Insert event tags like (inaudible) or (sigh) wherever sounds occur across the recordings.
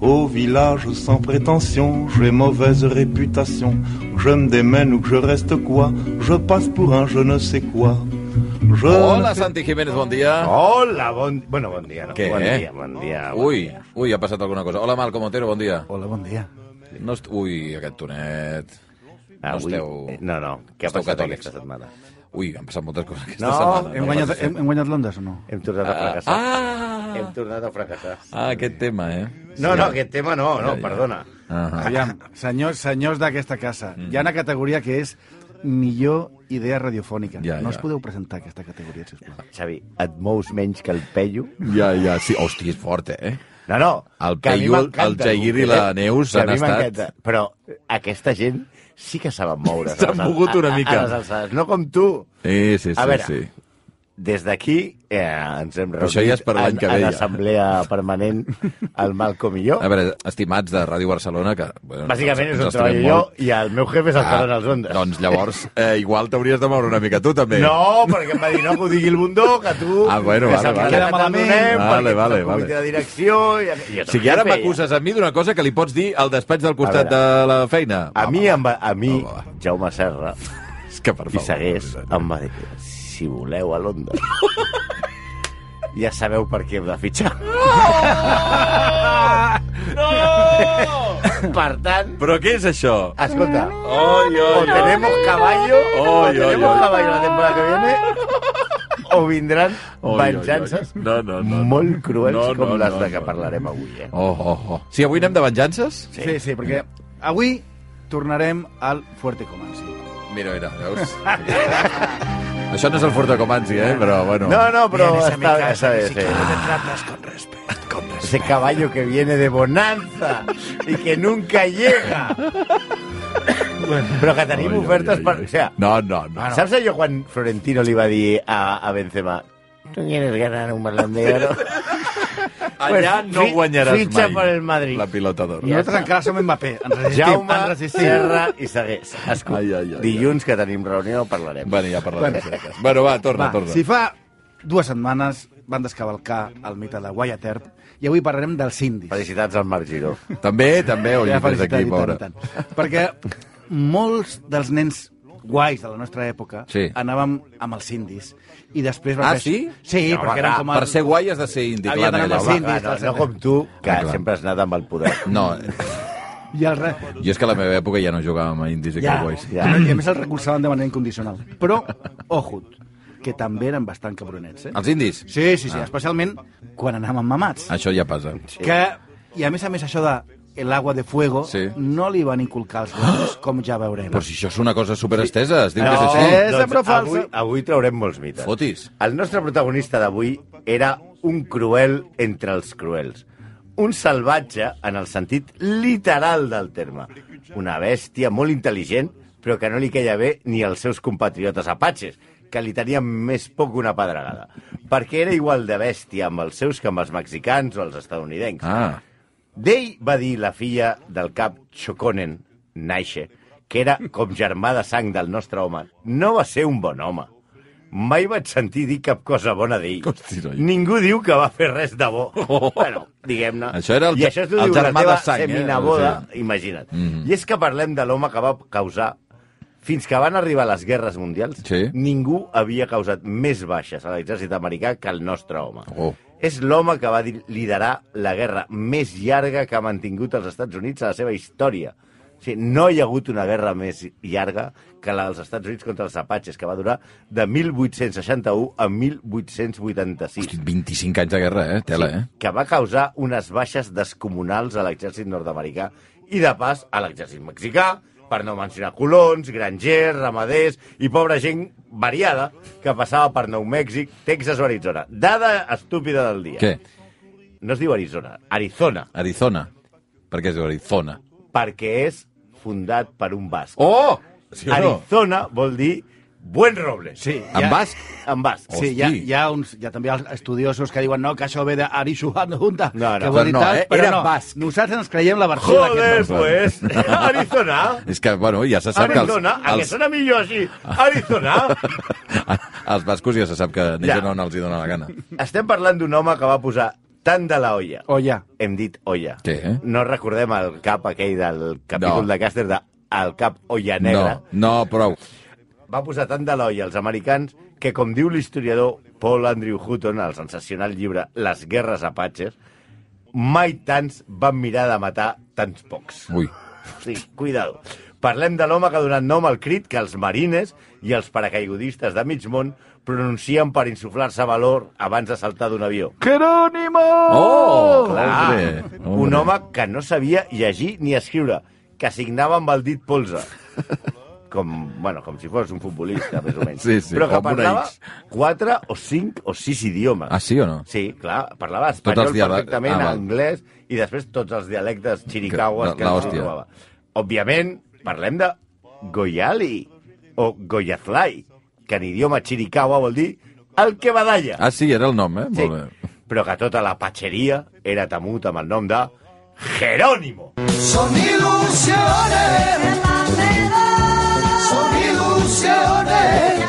Au village sans prétention, j'ai mauvaise réputation. Je me démène ou que je reste quoi Je passe pour un je ne sais quoi. Je Hola, Santi Jiménez, bon dia. Hola, bon... Bueno, bon dia, no? Què? Bon dia, bon dia. Bon Ui, Dia. ui, ha passat alguna cosa. Hola, Malcom Otero, bon dia. Hola, bon dia. No est... Ui, aquest tonet. No esteu- eh, No, no, què ha esteu passat catòlics. aquesta setmana? Ui, han passat moltes coses aquesta No, setmana. eh? Hem guanyat, hem, hem guanyat Londres o no? Hem tornat a Ah, fracassar. Hem ah, tornat a fracassar. ah, aquest tema, eh? No, no, aquest tema no, no, Ja, ja. perdona. Ah, Aviam, senyors, senyors d'aquesta casa, hi ha una categoria que és millor idea radiofònica. Ja, no ja. us podeu presentar a aquesta categoria, sisplau. Xavi, et mous menys que el Pello? ja, ja, sí. Hòstia, és fort, eh? No, no. El que a mi Peyu, m'encanta, el Jair i Cuquet, la Neus que a han mi estat- m'encanta, Però aquesta gent sí que saben moure. a les S'han al- mogut una a- a- mica. A les alçades. No com tu. Sí, sí, sí. A veure, sí. Des d'aquí eh, ens hem Però reunit això ja és per l'any en, que ve, en ja. assemblea permanent al Malcom i jo. A veure, estimats de Ràdio Barcelona, que... Bueno, Bàsicament ens- és on ens estimem treballo jo molt. i el meu jefe és el que dona els ondes. Doncs llavors, (laughs) eh, igual t'hauries de moure una mica tu, també. No, perquè em va dir, no, que ho digui el bundó, que tu... Ah, bueno, que vale, saps vale. que Queda malament. t'adonem, Vale, perquè ets vale, el comitè vale. de direcció... I, i jo O sigui, també ara feia. m'acuses a mi d'una cosa que li pots dir al despatx del costat de A veure. la feina. A mi, em va, a mi Va, va, va. Jaume Serra, És que, per i favor. segueix, em va dir, si voleu a Londres, ja sabeu per què heu de fitxar. No! per tant, Però què és això? escolta, Oi, o tenemos caballo, o Oy, oy, tenemos oy. caballo la temporada que viene, o vindran Oy, oy, oy. venjances No, no, no, no. molt cruels No, no, com les no, de que no. parlarem avui. Eh? Oh, oh, oh. Sí, avui anem de venjances? Sí, sí, perquè avui tornarem al Fuerte Comanci. Mira, mira, veus? (laughs) això no és el Forte Comanzi, eh? Però, bueno... No, no, pero está bien, está bien, sí. Ah, Ese caballo que viene de bonanza y que nunca llega. Però que tenim Oi, oi, ofertes oi, per... oi. O sea, No, no, no. saps allò quan Florentino li va dir a, a Benzema Tu quieres ganar un balón de oro? Allà Pues, no fi- guanyaràs mai. fitxa per el Madrid. La pilota d'or. I nosaltres encara som Mbappé. Ens resistim, eh? Jaume, ens resistim. Serra i Segués. Escolta, Ai, ai, ai, ai. dilluns que tenim reunió parlarem. Bueno, ja parlarem. Bueno, bueno va, torna, Va, torna. si fa dues setmanes van descavalcar el mite de Wyatt Earp i avui parlarem dels indis. Felicitats al Marc Giró. També, també, ho Ja, llibres aquí, felicitat, i pobre. tant, i tant. Perquè molts dels nens guais de la nostra època Sí. anàvem amb els indis i després van Ah, créixer- sí? Sí, No, home, perquè eren clar, com Per ser guai has de ser indi, Havia clar. d'anar no, amb allò. els Ah, no, no com tu, que clar. sempre has anat amb el poder. No, I el re... jo és que a la meva època ja no jugàvem a indis i Ja, cowboys. ja. I a més el recolzaven de manera incondicional. Però, ojo, que també eren bastant cabronets, eh? Els Ah, indis? Sí, sí, sí, ah. especialment quan anàvem mamats. Això ja passa. Que, I a més a més això de el agua de fuego Sí. no li van inculcar als nens, com ja veurem. Però si això és una cosa superestesa, es diu que No. és així. Eh, és però falsa. Doncs avui, avui traurem molts mites. Fotis. El nostre protagonista d'avui era un cruel entre els cruels. Un salvatge en el sentit literal del terme. Una bèstia molt intel·ligent, però que no li queia bé ni als seus compatriotes apatxes, que li tenien més poc una pedregada. Perquè era igual de bèstia amb els seus que amb els mexicans o els estadounidencs. Ah, D'ell va dir la filla del cap Choconen, Naixe, que era com germà de sang del nostre home. No va ser un bon home. Mai vaig sentir dir cap cosa bona d'ell. Hosti, noi. Ningú diu que va fer res (laughs) de bo. Bueno, diguem-ne. Oh. Això era el- I això t'ho el diu la germà teva de sang, eh? Mhm. seminaboda, O eh? imagina't. I és que parlem de l'home que va causar fins que van arribar les guerres mundials, Sí. ningú havia causat més baixes a l'exèrcit americà que el nostre home. Oh. És l'home que va dir- liderar la guerra més llarga que ha mantingut els Estats Units a la seva història. O sigui, no hi ha hagut una guerra més llarga que la dels Estats Units contra els apatxes, que va durar de 1861 a 1886 hosti, 25 anys de guerra, eh? Tela, eh? que va causar unes baixes descomunals a l'exèrcit nord-americà i, de pas, a l'exèrcit mexicà, per no mencionar colons, grangers, ramaders i pobra gent variada que passava per Nou Mèxic, Texas o Arizona. Dada estúpida del dia. Què? No es diu Arizona, Arizona, Arizona. Per què es diu Arizona? perquè és fundat per un basc. Oh! Sí o no? Arizona vol dir buen roble. Sí, En basc? En basc. Sí, hi ha, Hosti. hi ha, uns, hi ha també els estudiosos que diuen no, que això ve d'Arixuhan Junta, No, no, que vol però dir no, tal, eh? però Era no. basc. Nosaltres ens creiem la versió Joder, d'aquest nom. pues, (laughs) Arizona. És que, bueno, ja se sap que els... Arizona, a que (laughs) sona millor així. Arizona. els bascos ja se sap que neixen on els hi dóna la gana. Estem parlant d'un home que va posar tant de la olla. Oh, O ja. Hem dit olla. Què, eh? No recordem el cap aquell del capítol No. de Càster de el cap olla negra. No, no, prou. va posar tant de l'oll als americans que, com diu l'historiador Paul Andrew Hutton al sensacional llibre Les guerres apatxes, mai tants van mirar de matar tants pocs. Ui. Sí, cuidado. Parlem de l'home que ha donat nom al crit que els marines i els paracaigudistes de mig món pronuncien per insuflar-se valor abans de saltar d'un avió. Jerónimo! Oh, clar. Clar, un home que no sabia llegir ni escriure, que signava amb el dit polze. Com, bueno, com si fos un futbolista, més o menys. Sí, sí, Però que com una parlava X. quatre o cinc o sis idiomes. Ah, sí o no? Sí, clar, parlava Tots espanyol els dialectes. perfectament, Ah, ah, val. anglès i després tots els dialectes xiricaues Que- que, la- ens l'hòstia. trobava. Òbviament, parlem de Goyali o Goyazlai, que en idioma xiricaua vol dir el que badalla. Ah, sí, era el nom, eh? Sí, Molt bé. però que tota la patxeria era temut amb el nom de Jerónimo. Son ilusiones, son ilusiones.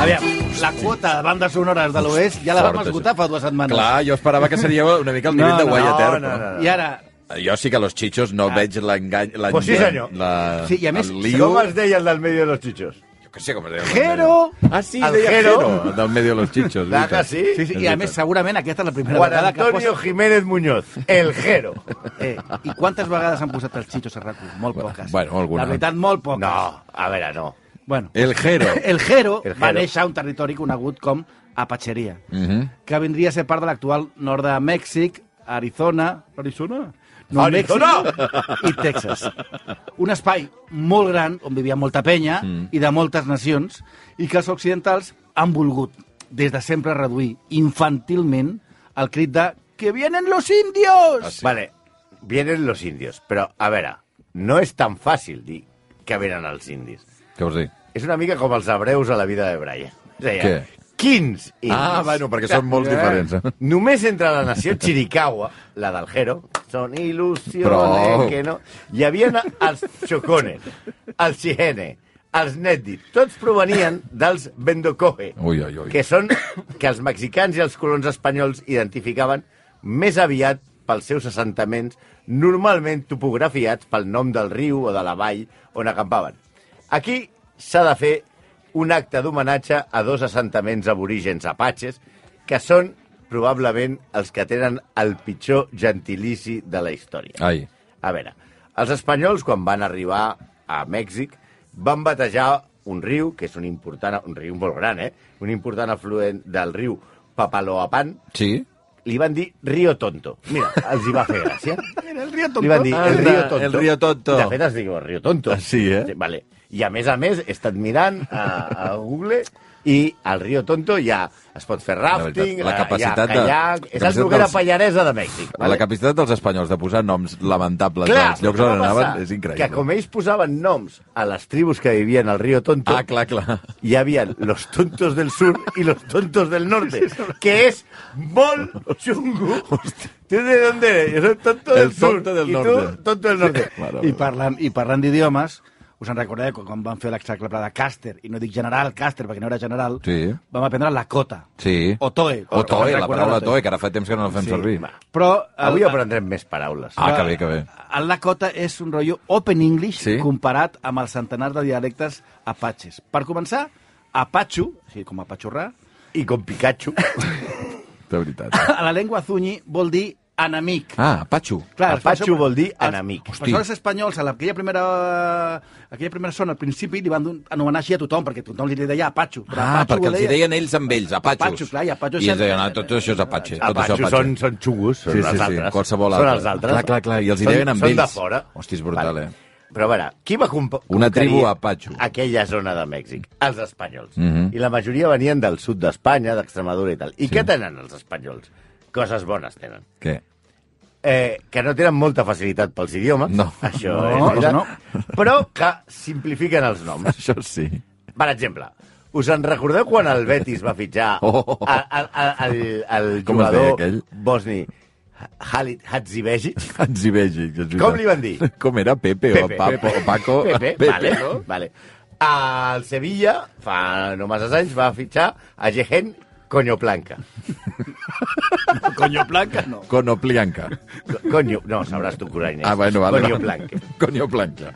Aviam, la quota de bandes sonores de l'Oest ja la vam Fort, això. esgotar fa dues setmanes. Clar, jo esperava que seria una mica el nivell Ah, de No, no, Guayater. no, no, I ara, Jo sí que a los chichos no veig l'engany... l'engany- Pues sí, senyor. La... Sí, i a més, el Lio... lío... Com es deia el del medio de los chichos? Jo què sé com es deia. Jero! Ah, sí, El deia Jero. Jero. Del medio de los chichos. Clar que veritat. sí? sí, sí, i a més, segurament aquesta és la primera Juan vegada que Antonio Jiménez Muñoz, el (laughs) Jero. Eh, I quantes vegades han posat el Chicho Serraco? Molt Bueno, poques. bueno, alguna. La veritat, molt poques. No, a veure, no. Bueno, El (laughs) Jero. el Jero, El va Jero. néixer a un territori conegut com Apatxeria, Mhm. que vindria a ser part de l'actual nord de Mèxic, Arizona... Arizona? No, Arizona! Mèxic I Texas. Un espai molt gran on vivia molta penya Mm. i de moltes nacions i que els occidentals han volgut des de sempre reduir infantilment el crit de que vienen los indios! Ah, sí. Vale, vienen los indios, però a veure, no és tan fàcil dir que venen els indis. Què vols dir? És una mica com els hebreus a la vida de Brian. És a dir, Què? Quins indis? Ah, bueno, perquè són molt Eh? diferents. eh? Només entre la nació Chiricahua, la del Jero, són il·lusiones Prou. que no... Hi havia els Chocones, els Chihene, els Netdi, tots provenien dels Bendocoge, Ui, ui, ui. que són que els mexicans i els colons espanyols identificaven més aviat pels seus assentaments, normalment topografiats pel nom del riu o de la vall on acampaven. Aquí s'ha de fer un acte d'homenatge a dos assentaments aborígens apatxes, que són probablement els que tenen el pitjor gentilici de la història. Ai. A veure, els espanyols, quan van arribar a Mèxic, van batejar un riu, que és un important, un riu molt gran, eh? Un important afluent del riu Papaloapan, Sí? li van dir Río Tonto. Mira, els hi va fer (laughs) gràcia. Mira, el río Li van dir el Anda, Río Tonto. el Río Tonto. De fet, es diu el Río Tonto. Ah, sí, eh? vale. I a més a més, he estat mirant a, a Google i al Río Tonto ja es pot fer rafting, veritat, la capacitat de- hi ha la kayak... És el capacitat Noguera dels- Pallaresa de Mèxic. La capacitat dels espanyols de posar noms lamentables als llocs però on què va anaven passar? és increïble. Que com ells posaven noms a les tribus que vivien al riu Tonto, Ah, clar, clar. hi havia los tontos del sur i los tontos del norte, que és molt xungo. ¿Tú de dónde eres? Yo soy tonto El del sur. tonto del y norte. tú, tonto del norte. I parlant, i parlant d'idiomes, us en recordeu que quan vam fer l'extracle de Caster, i no dic general Caster perquè no era general, Sí. vam aprendre la cota. Sí. O toe. O toe, la Recordeu paraula toe, que ara fa temps que no la fem servir. va. Però Avui el- aprendrem més paraules. Ah, que bé, que bé. El Lakota és un rotllo open English Sí. comparat amb els centenars de dialectes apatxes. Per començar, apatxo, o sigui, com apatxorrar, I com Pikachu. De veritat. a la llengua zunyi vol dir enemic. Ah, Patxo. Clar, Apatxo per això- vol dir els- enemic. Per això els espanyols, a la- aquella primera, aquella primera zona, al principi, li van don- anomenar així a tothom, perquè tothom li deia Apatxo. però Ah, Apatxo perquè ho els hi deia- deien ells amb ells, apatxos. Apatxos, clar, i apatxos I ells sempre- deien, ah, tot això és apatxe. Tot Apatxo això són, són xungos, són Sí, els sí, sí, altres. qualsevol Són altre. els altres. Clar, clar, clar, i els hi Són- deien amb són ells. de fora. Hosti, és brutal, eh? Però a veure, qui va comp Una conquerir tribu apatxo. Aquella zona de Mèxic, els espanyols. Mhm. I la majoria venien del sud d'Espanya, d'Extremadura i tal. I què tenen els espanyols? Coses bones tenen. Què? Eh, que no tenen molta facilitat pels idiomes, No. (laughs) això No, és veritat, no. però que simplifiquen els (laughs) noms. Això sí. Per exemple, us en recordeu quan el Betis va fitxar (laughs) Oh. a- a- a- el, el Com es deia jugador aquell? bosni Halit Hatzibegi? Ens hi vegi. és veritat. Com li van dir? (laughs) Com era Pepe, o Papo, o Paco? Pepe, Pepe, vale, vale. Al Sevilla, fa no massa anys, va fitxar a Gehen Coño Planca. (laughs) Coño Blanca, no. Conoplianca. Co- Coño... No, sabràs tu, Coraines. Ah, bueno, vale. Coño vale. (laughs) Planca. Coño Planca.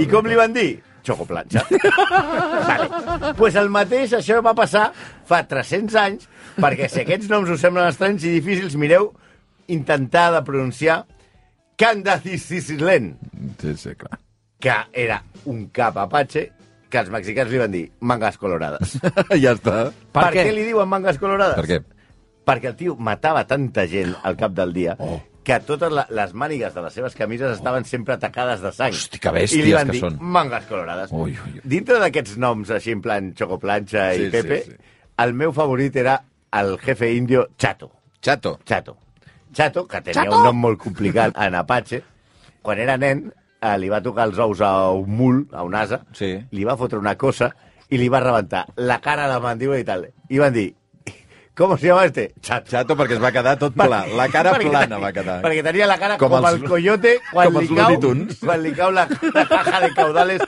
I com li van dir? (laughs) Xocoplanxa. vale. pues el mateix, això va passar fa 300 anys, perquè si aquests noms us semblen estranys i difícils, mireu intentar de pronunciar Candacicislen, Sí, sí, clar. (laughs) que era un cap apatxe que els mexicans li van dir mangas colorades. ja està. Per, què? què? li diuen mangas colorades? Per què? Perquè el tio matava tanta gent al cap del dia Oh. que totes la, les mànigues de les seves camises estaven sempre atacades de sang. Hosti, que bèsties I li van que dir són. mangas colorades. Ui, ui, ui. Dintre d'aquests noms així en plan Xocoplanxa Sí, i sí, Pepe, sí. el meu favorit era el jefe indio Chato. Chato. Chato. Chato, que tenia Chato? un nom molt complicat en Apache. Quan era nen, eh, li va tocar els ous a un mul, a un asa, Sí. li va fotre una cosa i li va rebentar la cara a la mandíbula i tal. I van dir, com se llama este? Chato. Chato perquè es va quedar tot pla. La cara plana va quedar. Perquè tenia la cara Com com, com els- el coyote quan, com els li cau, Looney Tunes. quan li cau la, la caja de caudales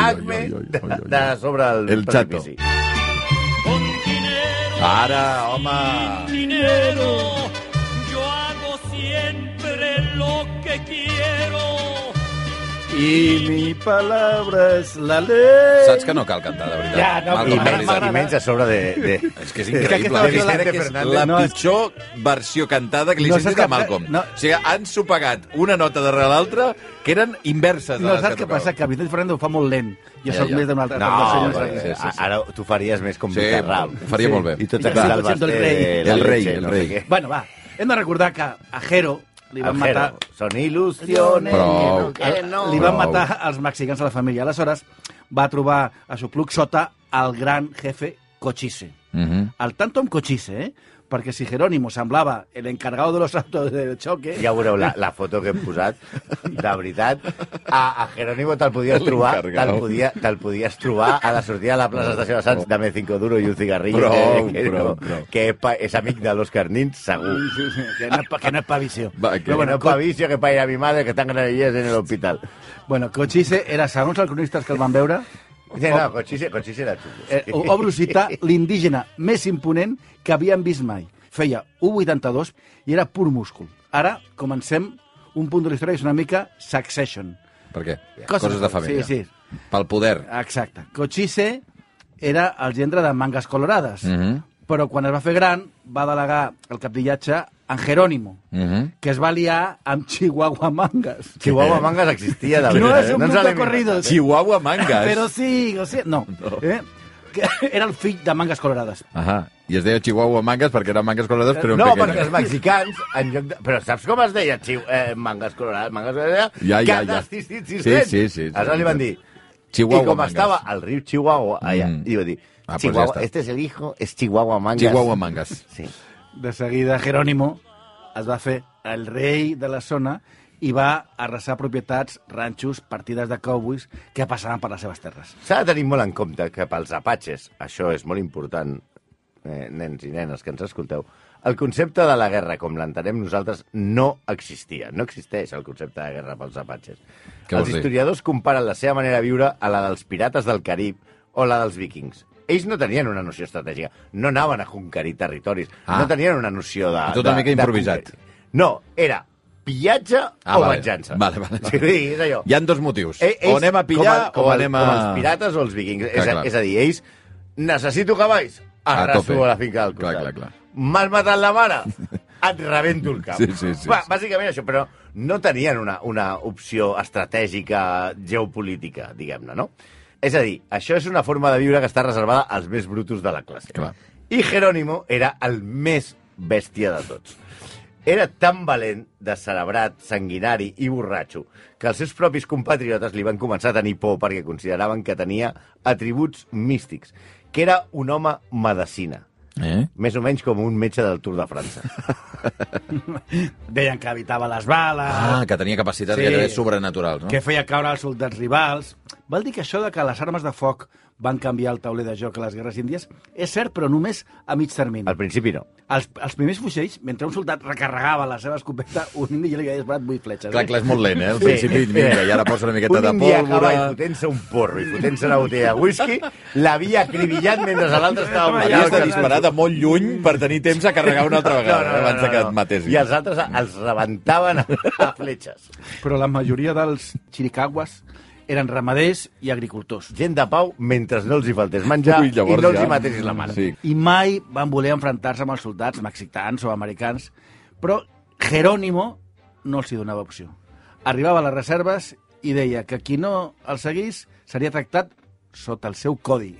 Oi, oi, Acme oi, oi, de, oi, oi. de sobre el, El Chato. precipici. Ara, home! dinero. Yo hago siempre lo que quiero. I mi palabra és la ley. Saps que no cal cantar, de veritat. Ja, no, Mal i I com de m'agrada, menys, veritat. I menys a sobre de... de... És que és És que increïble. aquesta versió És, crec de Vicente que és Fernández la no és- pitjor versió cantada que li No no, sentit saps a què- Malcolm. No. no. O sigui, han sopagat una nota darrere l'altra que eren inverses. de No les saps què tocava. passa? Que Vicente Fernández ho fa molt lent. Jo Ja, ja, soc ja. més d'un altre. No, tercer, però- sé sí, sí, què. sí. Ara tu faries més com Sí, Vicarral. ho faria molt bé. I tot Sí, aquestes sí, albes de- el rei. de la El rei, leche, el no sé rei. què. Bueno, va. Hem de recordar que a Jero li Al van matar... Jero. Son ilusiones. Prou. que no. Li van Prou. matar els mexicans a la família. Aleshores, va trobar a Sucluc sota el gran jefe Cochise. Mhm. Al tanto amb Cochise, eh? Perquè si Jerónimo semblava el encargado de los autos de choque... Ja veureu la, la foto que hem posat. De veritat, a, a Jerónimo te'l (laughs) podies trobar, L'encargado. te'l podia, te podies trobar a la sortida de la plaça Estació de Sants, dame cinco duro i un cigarrillo, Prou, que, que, prou, no, prou. que és, pa, és amic de l'Òscar Nins, segur. Que no, és pa- que no és pa visió. Va, que- Però Bueno, bueno, no pa vicio que pa ir a mi madre, que tan granillas en el hospital. Co bueno, Cochise era, segons els cronistes que el van veure, Sí, no, Cochise, Cochise era xulo. eh, o o Brusita, l'indígena més imponent que havien vist mai. Feia 1,82 i era pur múscul. Ara comencem un punt de la història que és una mica Succession. Per què? Coses, Coses- de família. Sí, sí. Pel poder. Exacte. Cochise era el gendre de Mangas Colorades, Mhm. però quan es va fer gran va delegar el capdillatge en Jerónimo, Mhm. que es va liar amb Chihuahua Mangas. Chihuahua Mangas existia, de No veritat. eh? és ens un grup de l'hem inventat. corridos. Chihuahua Mangas. Però sí, o sigui, no. Eh? Que era el fill de Mangas Colorades. Ahà. I es deia Chihuahua Mangas perquè eren mangas colorades, però en No, pequeño. perquè els mexicans, en lloc de... Però saps com es deia, xiu? Eh, mangas colorades, mangas colorades... Ja, ja, ja. Sí, sí, sí, Sí, sí, sí. Aleshores li van dir... Chihuahua I com Mangas. estava al riu Chihuahua, allà, Mm. mm. i va dir... Ah, pues Chihuahua, ja està. este es el hijo, es Chihuahua Mangas. Chihuahua Mangas. Sí. De seguida, Jerónimo es va fer el rei de la zona i va arrasar propietats, ranxos, partides de cowboys que passaven per les seves terres. S'ha de tenir molt en compte que pels apatxes, això és molt important, eh, nens i nenes que ens escolteu, el concepte de la guerra, com l'entenem nosaltres, no existia. No existeix el concepte de guerra pels apatxes. Què vols Els dir? historiadors comparen la seva manera de viure a la dels pirates del Carib o la dels vikings. Ells no tenien una noció estratègica, no anaven a conquerir territoris, Ah. no tenien una noció de... Tot una de- mica de improvisat. conquerir. No, era pillatge Ah, o vale. venjança. Vale, vale, vale. Sí, és allò. Hi han dos motius. Eh, o anem a pillar com o el- anem a... Com els pirates o els vikings. Clar, és, a, clar. és a dir, ells... Necessito cavalls. A Arraso tope. a, la finca del Clar, costat. clar, clar. M'has matat (laughs) la mare? Et rebento el cap. Sí, sí, sí, Va, sí. bàsicament això, però no tenien una, una opció estratègica geopolítica, diguem-ne, no? És a dir, això és una forma de viure que està reservada als més brutos de la classe. Clar. I Jerónimo era el més bèstia de tots. Era tan valent, descerebrat, sanguinari i borratxo que els seus propis compatriotes li van començar a tenir por perquè consideraven que tenia atributs místics, que era un home medicina, Eh? més o menys com un metge del Tour de França. Deien que evitava les bales... Ah, que tenia capacitats Sí. sí. gairebé sobrenaturals, no? que feia caure els soldats rivals. Vol dir que això de que les armes de foc van canviar el tauler de joc a les guerres índies. És cert, però només a mig termini. Al principi no. Els, els primers fuixells, mentre un soldat recarregava la seva escopeta, (laughs) un indi ja li havia disparat vuit fletxes. Clar, clar, és molt lent, eh? Al principi, Sí. mira, i ara posa una miqueta Un de indià acaba pólvora... i fotent-se un porro i fotent-se una botella de whisky, l'havia acribillat mentre l'altre estava Havies de malalt. disparar de molt lluny per tenir temps a carregar una altra vegada, eh, abans de que et matés. I els altres els rebentaven a, a fletxes. Però la majoria dels chiricaguas eren ramaders i agricultors. Gent de pau mentre no els hi faltés menjar Ui, llavors i no els ja. hi matessis la mare. Sí. i mai van voler enfrontar-se amb els soldats mexicans o americans, però Jerónimo no els hi donava opció. Arribava a les reserves i deia que qui no el seguís seria tractat sota el seu codi.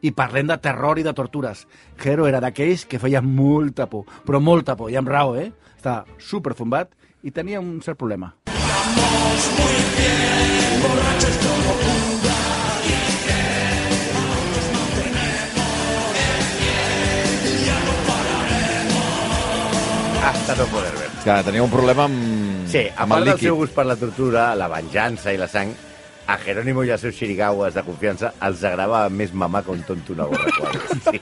I parlem de terror i de tortures. Jero era d'aquells que feia molta por, però molta por, i amb raó, eh? Estava superfumbat i tenia un cert problema. Hasta no poder ver. Que tenia un problema amb, Sí, a Mm. amb part el del líquid. seu gust per la tortura, la venjança i la sang, a Jerónimo i els seus xirigaues de confiança els agradava més mamar que un tonto una gorra quadra. Sí.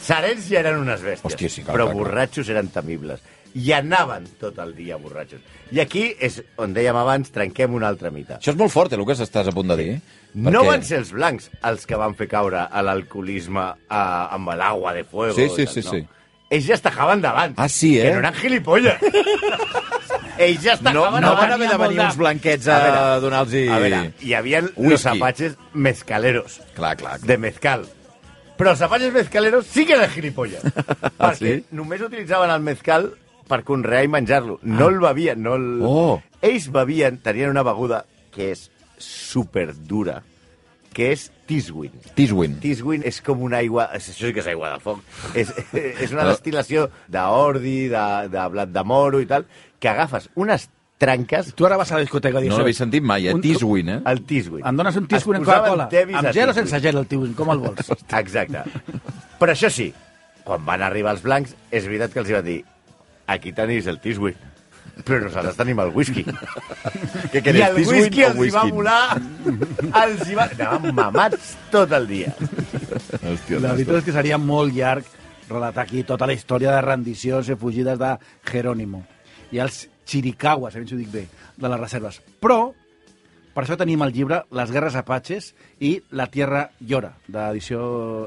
Sarens ja eren unes bèsties, Hòstia, sí, clar, però clar, clar. borratxos eren temibles. I anaven tot el dia borratxos. I aquí és on dèiem abans, trenquem un altre mite. Això és molt fort, eh, el que estàs a punt de dir. No van ser els blancs els que van fer caure a l'alcoholisme eh, amb l'agua de fuego. Sí, sí, i tal, sí, no. sí. Ells ja es tajaven davant. Ah, sí, eh? Que no eren gilipolles. (laughs) Ells ja es No, tajaven no davant. van haver de venir uns blanquets a, A donar-los... I... A veure, hi havia los Whisky. apaches mezcaleros, Clar, clar. clar. de mezcal. Però els apaches mezcaleros sí que eren (laughs) gilipolles. perquè Ah, sí? només utilitzaven el mezcal per conrear i menjar-lo. No el bevien, no el... Ah. Oh. Ells bevien, tenien una beguda que és superdura, que és tiswin. Tiswin. Tiswin és com una aigua... és- Això sí que és aigua de foc. És, (laughs) és Ah. una destil·lació d'ordi, de, de blat de moro i tal, que agafes unes tranques Tu ara vas a la discoteca i dius... No l'havia sentit mai, eh? Un- Tiswin, eh? al Tiswin. Em dones un tisco Es posaven en Coca-Cola? tevis a Amb gel o Tiswin. sense gel, el tisco? Com el (laughs) vols? Exacte. Però això sí, quan van arribar els blancs, és veritat que els hi van dir aquí tenis el Tiswin, però nosaltres tenim el whisky. Què I querés, el Tiswin whisky o els hi va whisky? volar, els hi va... Anaven mamats tot el dia. Hòstia, La veritat és que seria molt llarg relatar aquí tota la història de rendicions i fugides de Jerónimo i els chiricaguas, a veure si ho dic bé, de les reserves. Però, per això tenim el llibre Les guerres apatxes i La tierra llora, d'edició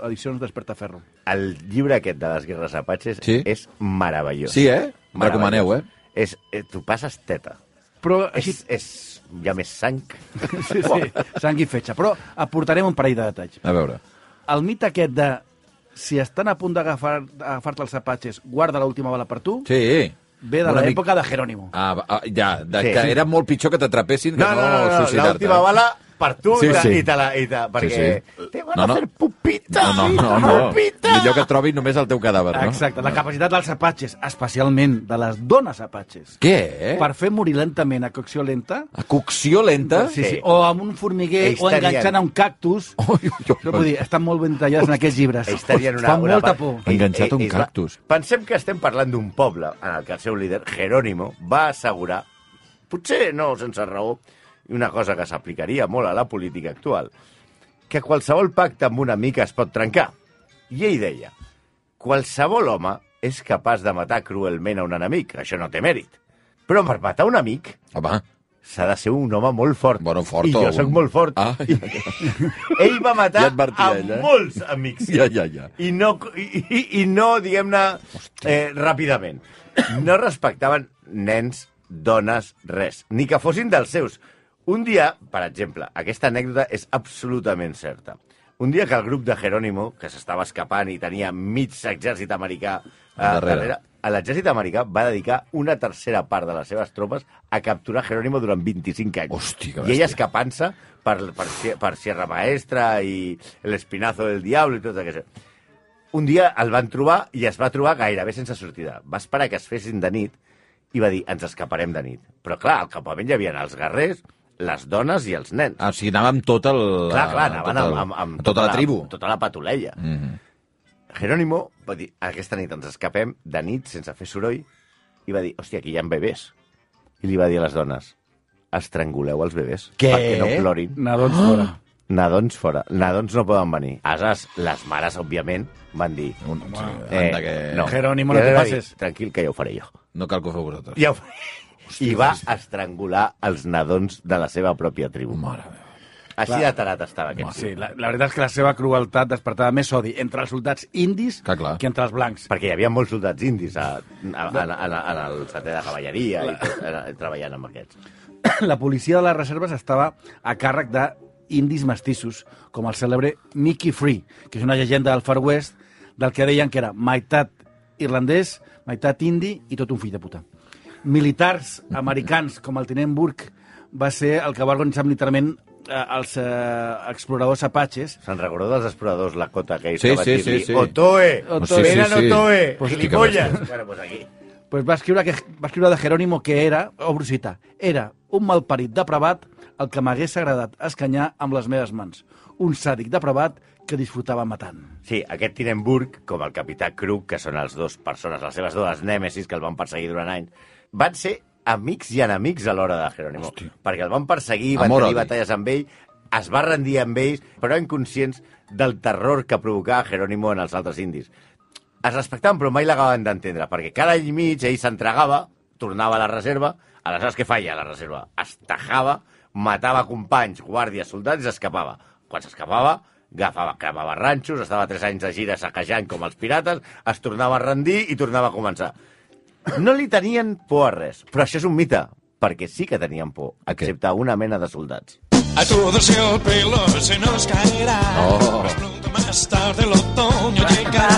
Edicions Despertaferro. El llibre aquest de les guerres apatxes Sí. és meravellós. Sí, eh? Meravellós. Recomaneu, eh? És, eh, tu passes teta. Però així... És, és, hi ha més sang. (laughs) Sí, sí, sang i fetge. Però aportarem un parell de detalls. A veure. El mite aquest de si estan a punt d'agafar- d'agafar-te els apatxes, guarda l'última bala per tu, Sí. ve de Una mica- l'època de Jerónimo. Ah, va- ah, ja, de, Sí. que era molt pitjor que t'atrapessin que no, suïcidar-te. l'última bala per tu eh? Sí, i te- sí. i te la... I te, perquè sí. te van No, a no. fer pupita, No, no, no, no. pupita. Millor que trobi només el teu cadàver, no? Exacte, la capacitat dels apatxes, especialment de les dones apatxes, Què? per fer morir lentament a cocció lenta, A cocció lenta? (laughs) sí, sí, o amb un formiguer, Ells o enganxant tenien- a un cactus... Ui, ui, ui. Això vull dir, estan molt ben tallats en aquests llibres. Ells tenien una, Fa una molta part- por. Ei, Enganxat a un ells va- cactus. Pensem que estem parlant d'un poble en el que el seu líder, Jerónimo, va assegurar, potser no sense raó, i una cosa que s'aplicaria molt a la política actual, que qualsevol pacte amb una mica es pot trencar. I ell deia, qualsevol home és capaç de matar cruelment a un enemic, això no té mèrit. Però per matar un amic Home, s'ha de ser un home molt fort. Bueno, fort I o jo un- sóc molt fort. Ah, ja, (laughs) Ell va Ja matar advertia a ell, eh? molts amics ja, ja, ja. i no, i, i- i no diguem-ne, eh, ràpidament. No respectaven nens, dones, res, ni que fossin dels seus. Un dia, per exemple, aquesta anècdota és absolutament certa. Un dia que el grup de Jerónimo, que s'estava escapant i tenia mig exèrcit americà eh, Al darrere. darrere, a l'exèrcit americà va dedicar una tercera part de les seves tropes a capturar Jerónimo durant 25 anys. Hosti, que I ella bèstia. escapant-se per, per, Sie- per Sierra Maestra i l'Espinazo del Diablo i tot això. Un dia el van trobar i es va trobar gairebé sense sortida. Va esperar que es fessin de nit i va dir, ens escaparem de nit. Però clar, al campament hi havia els guerrers, les dones i els nens. Ah, o sigui, anava amb tot el... clar, clar, anaven tot el- amb, amb, amb Tota la tribu. Amb tota la patulella. Mm -hmm. Jerónimo va dir, aquesta nit ens escapem de nit sense fer soroll, i va dir, hòstia, aquí hi ha bebès. I li va dir a les dones, estranguleu els bebès Què? Ah. perquè no plorin. Nadons doncs, fora. Nadons fora. Nadons no poden venir. Aleshores, les mares, òbviament, van dir... Un, sí, Eh, anda que... no. Jerónimo, I no te ella va pases. dir, Tranquil, que ja ho faré jo. no cal que ho feu vosaltres. Ja ho faré. I va estrangular els nadons de la seva pròpia tribu. Mare meva. Així de tarat estava aquest. Sí, la, la veritat és que la seva crueltat despertava més odi entre els soldats indis Que clar. que entre els blancs. Perquè hi havia molts soldats indis a, a, a, a, a, a el setè de cavalleria i tot, a, a, treballant amb aquests. La policia de les reserves estava a càrrec de indis mestissos, com el cèlebre Mickey Free, que és una llegenda del Far West, del que deien que era meitat irlandès, meitat indi i tot un fill de puta. Militars americans, com el tinent Burke, va ser el que va organitzar militarment eh, els eh, exploradors apatxes, Se'n recordeu dels exploradors Lakota que Sí, que va sí, dir-li sí, sí. Otoe! Oh, sí, Venen sí, sí. Otoe! Pues sí que Gilipolles! Bueno, pues aquí. pues va, escriure que, va escriure de Jerónimo que era, obro cita, era un malparit depravat el que m'hagués agradat escanyar amb les meves mans. Un sàdic depravat que disfrutava matant. Sí, aquest Tinenburg, com el capità Krug, que són els dos persones, les seves dues nèmesis que el van perseguir durant anys, van ser amics i enemics a l'hora de Jerónimo. Perquè el van perseguir, van Amor, tenir odi. batalles amb ell, es va rendir amb ells, però inconscients del terror que provocava Jerónimo en els altres indis. Es respectaven, però mai l'acabaven d'entendre, perquè cada any i mig ell s'entregava, tornava a la reserva, aleshores què feia a la reserva? Es tajava, matava companys, guàrdies, soldats i s'escapava. Quan s'escapava, agafava, cremava ranxos, estava tres anys de gira saquejant com els pirates, es tornava a rendir i tornava a començar. No li tenien por a res, però això és un mite, perquè sí que tenien por, excepte a una mena de soldats. A todos el pelo se nos caerá. Oh. Más pronto, más tarde el otoño llegará. (laughs)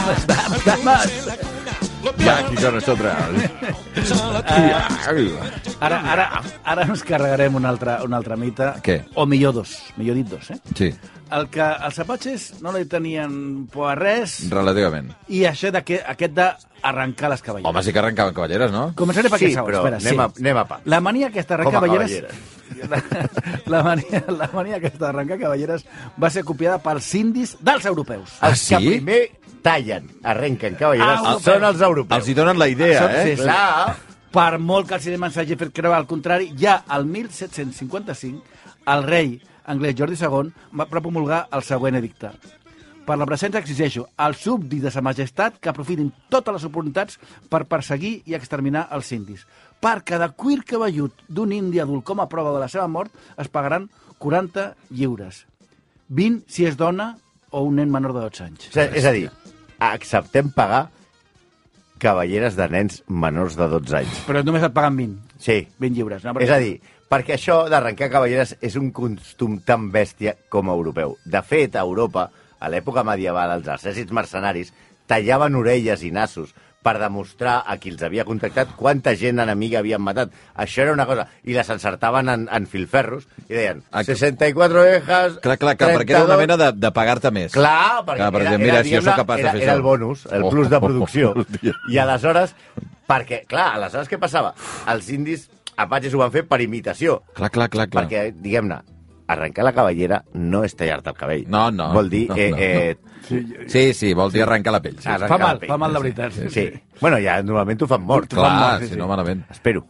Algunos en la cuna, lo Ja, aquí pierden són Eh. nosaltres. a la Ja. Ara, ara, ara ens carregarem un altre, un altre mite. Què? O millor dos, millor dit dos, eh? Sí, El que els apatxes no li tenien por a res relativament. i això d'aquest aquest d'arrencar les cavalleres. Home, sí que arrencaven cavalleres, no? Començaré per Sí, aquesta, però espera, anem a- anem a pa. La mania aquesta d'arrencar Com a cavalleres... (laughs) La, la, mania, la mania aquesta d'arrencar cavalleres va ser copiada pels indis dels europeus. Ah, Els sí? que primer tallen, arrenquen cavalleres, Ah, són els europeus. Els hi donen la idea, Són- eh? sí, sí. Clar, Per molt que el cinema ens hagi fet creure el contrari, ja al 1755 el rei anglès Jordi II va va promulgar el següent edicte. Per la presència exigeixo als súbdits de sa majestat que aprofitin totes les oportunitats per perseguir i exterminar els indis. Per cada cuir cabellut d'un indi adult com a prova de la seva mort es pagaran 40 lliures. 20 si és dona o un nen menor de 12 anys. O sigui, és a dir, acceptem pagar cavalleres de nens menors de 12 anys. Però només et paguen 20. Sí. 20 lliures. No? És a dir, perquè això d'arrencar cavalleres és un costum tan bèstia com europeu. De fet, a Europa, a l'època medieval, els exèrcits mercenaris tallaven orelles i nassos per demostrar a qui els havia contactat quanta gent enemiga havien matat. Això era una cosa. I les encertaven en, en filferros i deien Ah, que- 64 ovejas, Clar, clar, clar, perquè era una 32 mena de, de pagar-te més. Clar, perquè Clar, per era, exemple, mira, era, si jo diguem-ne, sóc capaç de era, fer era això. el bonus, el plus de Oh, producció. (laughs) hòstia. I aleshores, perquè, clar, aleshores què passava? Els indis apatges ho van fer per imitació. clar, clar, clar. clar. Perquè, diguem-ne, arrencar la cavallera no és tallar-te el cabell. No, no. Vol dir... No, eh, no, eh, Sí, sí, vol dir arrencar la pell. Sí. arrencar Fa mal, el pell. fa mal, la veritat. Sí. Bueno, ja normalment ho fan mort. Clar, si no, malament. Espero.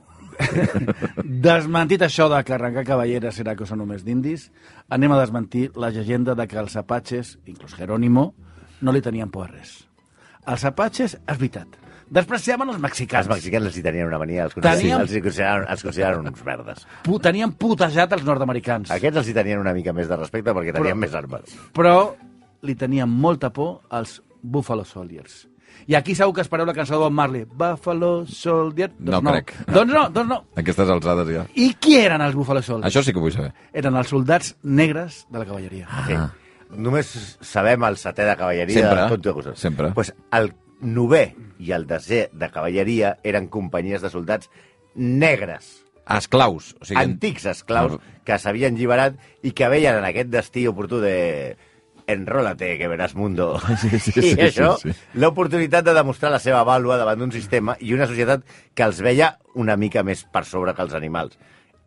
Desmentit això de que arrencar cavalleres serà que són només d'indis, anem a desmentir la llegenda de que els apatxes, inclús Jerónimo, no li tenien por a res. Els apatxes, és veritat, despreciaven els mexicans. Els mexicans els hi tenien una mania, els consideraven, Teníem- els hi consideraven, els consideraven uns merdes. Pu tenien putejat els nord-americans, Aquests els hi tenien una mica més de respecte perquè tenien Però- més armes. però li tenien molta por als Buffalo Soldiers. I aquí segur que espereu la cançó de Bob Marley. Buffalo Soldier... Doncs No crec. Doncs no, doncs no. Aquestes alçades ja. I qui eren els Buffalo Soldiers? Això sí que ho vull saber. Eren els soldats negres de la cavalleria. Ah, Sí. Només sabem el setè de cavalleria Sempre, de tot de coses. sempre. Pues el novè i el desè de cavalleria eren companyies de soldats negres, Esclaus. O sigui, antics esclaus, No. que s'havien lliberat i que veien en aquest destí oportú de enrólate, que veràs mundo. Sí, sí, (laughs) I sí, això, sí, sí. l'oportunitat de demostrar la seva vàlua davant d'un sistema i una societat que els veia una mica més per sobre que els animals.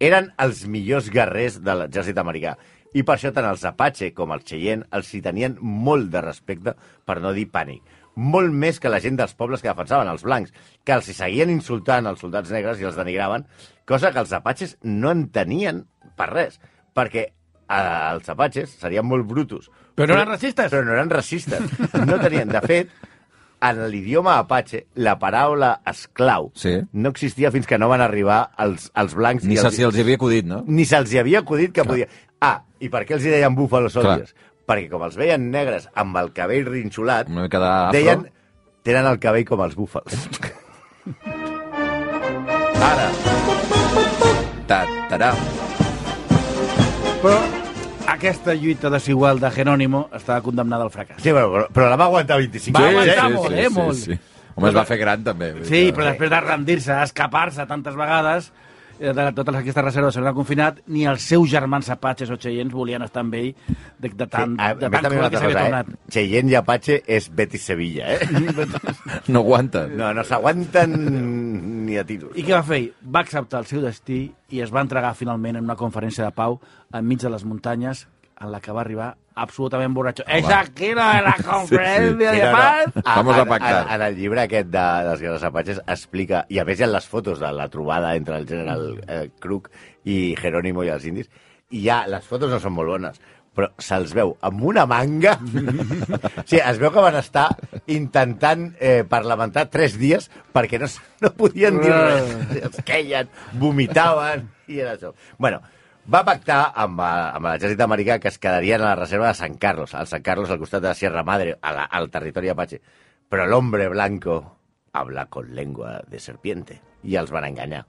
Eren els millors guerrers de l'exèrcit americà. I per això tant els Apache com els Cheyenne els hi tenien molt de respecte, per no dir pànic. Molt més que la gent dels pobles que defensaven els blancs, que els hi seguien insultant els soldats negres i els denigraven, cosa que els apatxes no en tenien per res, perquè als apatxes serien molt brutos. Però no eren racistes. Però no eren racistes. No tenien, de fet, en l'idioma apatxe, la paraula esclau Sí. no existia fins que no van arribar els, els blancs. Ni i se si els hi havia acudit, no? ni se'ls hi havia acudit que podia... Ah, i per què els hi deien Buffalo Soldiers? Perquè com els veien negres amb el cabell rinxolat, Una mica d'afro. deien... Tenen el cabell com els (laughs) búfals. Ara, Ta, tarà. Però aquesta lluita desigual de Jerónimo estava condemnada al fracàs. sí, però, però- però la va aguantar 25 Va anys. aguantar eh? molt, eh, molt. Home, es va fer gran, també. Sí, però després de rendir-se, escapar-se tantes vegades eh, de totes aquestes reserves de confinat, ni els seus germans apatxes o xeients volien estar amb ell de, de Sí, tant, a de més, tant també una cruel que altra s'havia cosa, tornat. eh? Cheyenne i Apache és Betis Sevilla, (laughs) eh? No aguanta. No, no s'aguanten ni a tiros. I què va fer ell? Va acceptar el seu destí i es va entregar finalment en una conferència de pau enmig de les muntanyes en la que va arribar absolutament borratxo. És aquí la, la (laughs) conferència Sí, de pau! Vamos a en- pactar. En, en, el llibre aquest de les guerres apatxes explica, i a més hi ha les fotos de la trobada entre el general eh, Crook i Jerónimo i els indis, i ja les fotos no són molt bones, però se'ls veu amb una manga... o sigui, es veu que van estar intentant eh, parlamentar tres dies perquè no, s- no Ah. podien dir res. Es queien, vomitaven, i era això. Bueno, va pactar amb, eh, amb l'exèrcit americà que es quedarien a la reserva de San Carlos, al San Carlos al costat de la Sierra Madre, a la, al territori Apache. Però l'hombre blanco habla con lengua de serpiente i els van enganyar.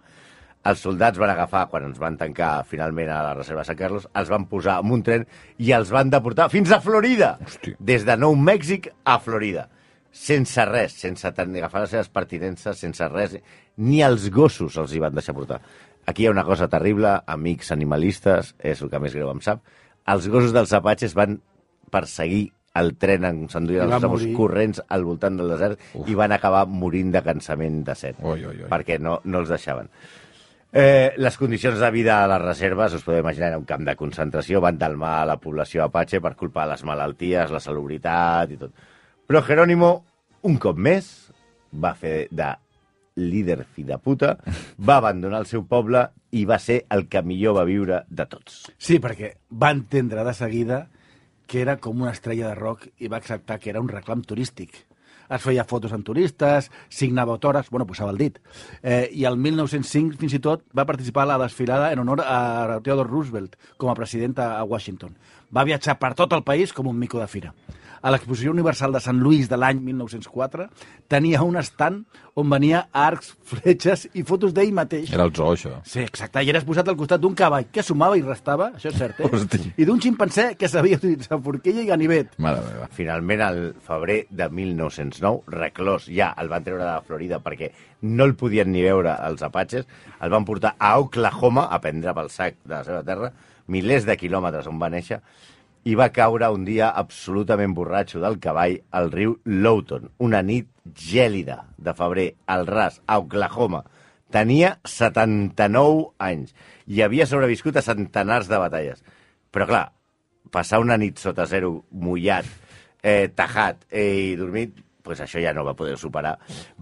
Els soldats van agafar, quan ens van tancar finalment a la reserva de San Carlos, els van posar en un tren i els van deportar fins a Florida! Hosti. Des de Nou Mèxic a Florida. Sense res, sense tant agafar les seves pertinences, sense res, ni els gossos els hi van deixar portar. Aquí hi ha una cosa terrible, amics animalistes, és el que més greu em sap. Els gossos dels apatxes van perseguir el tren en s'enduien I els van amos morir. corrents al voltant del desert i van acabar morint de cansament de set, Oi, oi, oi. perquè no, no els deixaven. Eh, les condicions de vida a les reserves, us podeu imaginar, era un camp de concentració, van delmar a la població apatxe per culpa de les malalties, la salubritat i tot. Però Jerónimo, un cop més, va fer de líder fi de puta, va abandonar el seu poble i va ser el que millor va viure de tots. Sí, perquè va entendre de seguida que era com una estrella de rock i va acceptar que era un reclam turístic. Es feia fotos amb turistes, signava autògrafs, bueno, posava el dit. Eh, I el 1905, fins i tot, va participar a la desfilada en honor a Theodore Roosevelt com a president a a Washington. Va viatjar per tot el país com un mico de fira. A l'exposició universal de Sant Louis de l'any 1904 tenia un estant on venia arcs, fletxes i fotos d'ell mateix. Era el zoo, això. Sí, exacte. I eres posat al costat d'un cavall que sumava i restava, això és cert, eh? Hosti. I d'un ximpanzé que sabia utilitzar forquilla i ganivet. Mare meva. Finalment, al febrer de 1909, reclòs ja el van treure de la Florida perquè no el podien ni veure els apatxes, el van portar a Oklahoma a prendre pel sac de la seva terra, milers de quilòmetres on va néixer, i va caure un dia absolutament borratxo del cavall al riu Lowton, una nit gèlida de febrer al ras, a Oklahoma. Tenia 79 anys i havia sobreviscut a centenars de batalles. Però, clar, passar una nit sota zero, mullat, eh, tajat eh, i dormit, pues això ja no va poder superar.